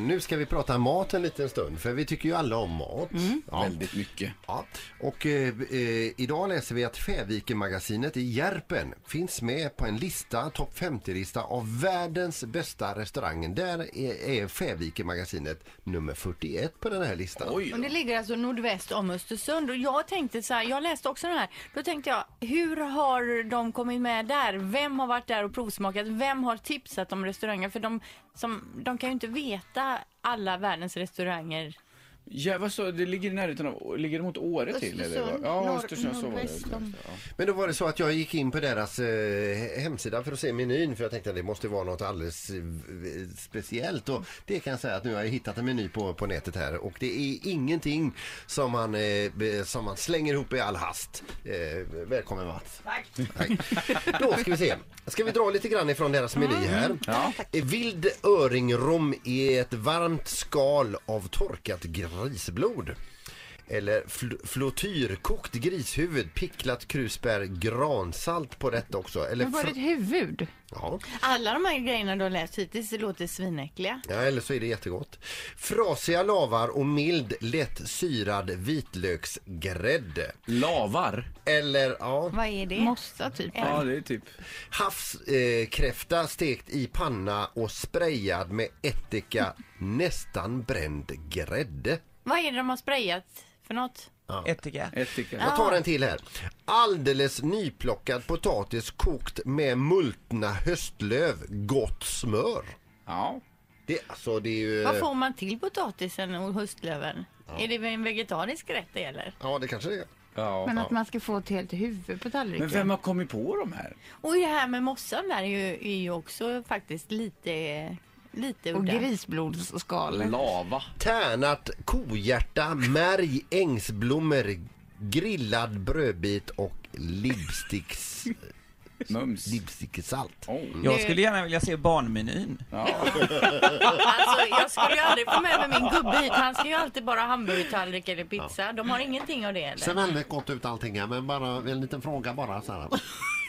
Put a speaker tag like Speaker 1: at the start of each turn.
Speaker 1: Nu ska vi prata mat en liten stund, för vi tycker ju alla om mat. Ja.
Speaker 2: Väldigt mycket.
Speaker 1: Ja. Och eh, eh, idag läser vi att Fävikenmagasinet i Järpen finns med på en lista, topp 50-lista av världens bästa restauranger. Där är, är Fävikenmagasinet nummer 41 på den här listan.
Speaker 2: Oj
Speaker 3: Och det
Speaker 2: då.
Speaker 3: ligger alltså nordväst om Östersund och jag tänkte så här, jag läste också den här, då tänkte jag hur har de kommit med där? Vem har varit där och provsmakat? Vem har tipsat om restauranger? För de, som, de kan ju inte veta alla världens restauranger.
Speaker 2: Ja, vad så, det ligger i närheten av, ligger det mot Åre till? Eller?
Speaker 4: Östersund,
Speaker 2: Ja,
Speaker 4: norr-
Speaker 2: Östersund, så var det.
Speaker 4: nordväst om-
Speaker 2: Ja.
Speaker 1: Men då var det så att jag gick in på deras eh, hemsida för att se menyn för jag tänkte att det måste vara något alldeles eh, speciellt och det kan jag säga att nu har jag hittat en meny på, på nätet här och det är ingenting som man, eh, be- som man slänger ihop i all hast. Eh, välkommen Mats. Tack. Då ska vi se. Ska vi dra lite grann ifrån deras meny här.
Speaker 2: Ja.
Speaker 1: Eh, Vild öringrom i ett varmt skal av torkat grisblod. Eller fl- flottyrkokt grishuvud, picklat krusbär, gransalt på detta också. Eller
Speaker 3: Men var det ett
Speaker 1: fr-
Speaker 3: huvud?
Speaker 1: ja.
Speaker 3: Alla de här grejerna du har läst hittills det låter svinäckliga.
Speaker 1: ja, eller så är det jättegott. Frasiga lavar och mild lätt syrad vitlöksgrädde.
Speaker 2: Lavar?
Speaker 1: Eller ja,
Speaker 3: Vad är det?
Speaker 4: Mossa typ.
Speaker 2: Ja, det är typ.
Speaker 1: havskräfta eh, kräfta stekt i panna och sprayad med ättika, nästan bränd grädde.
Speaker 3: Vad är det de har sprayat för något?
Speaker 5: Ättika.
Speaker 2: Ättika.
Speaker 1: Jag
Speaker 3: Ah.
Speaker 1: tar en till här. Alldeles nyplockad potatis kokt med multna höstlöv, gott smör.
Speaker 2: Ja.
Speaker 1: Det, alltså, det är ju...
Speaker 3: Vad får man till potatisen och höstlöven? Är det en vegetarisk rätt det gäller?
Speaker 1: Ja, det kanske det är.
Speaker 2: ja.
Speaker 4: Men att man ska få ett helt huvud på tallriken.
Speaker 2: Men vem har kommit på de här?
Speaker 3: Och det här med mossan där är ju, är ju också faktiskt lite, lite
Speaker 4: Och
Speaker 3: udda.
Speaker 4: grisblodsskal.
Speaker 2: Lava.
Speaker 1: Tärnat kohjärta, märg, ängsblommor, grillad brödbit och lipsticks,
Speaker 2: Mums.
Speaker 1: lipsticksalt.
Speaker 2: Oh.
Speaker 5: Jag skulle gärna vilja se barnmenyn.
Speaker 2: Ja.
Speaker 3: Alltså, jag skulle ju aldrig få med mig min gubbe hit. Han ska ju alltid bara ha hamburgertallrik eller pizza. De har ingenting av det eller?
Speaker 1: väldigt gott ut allting här, men bara en liten fråga bara.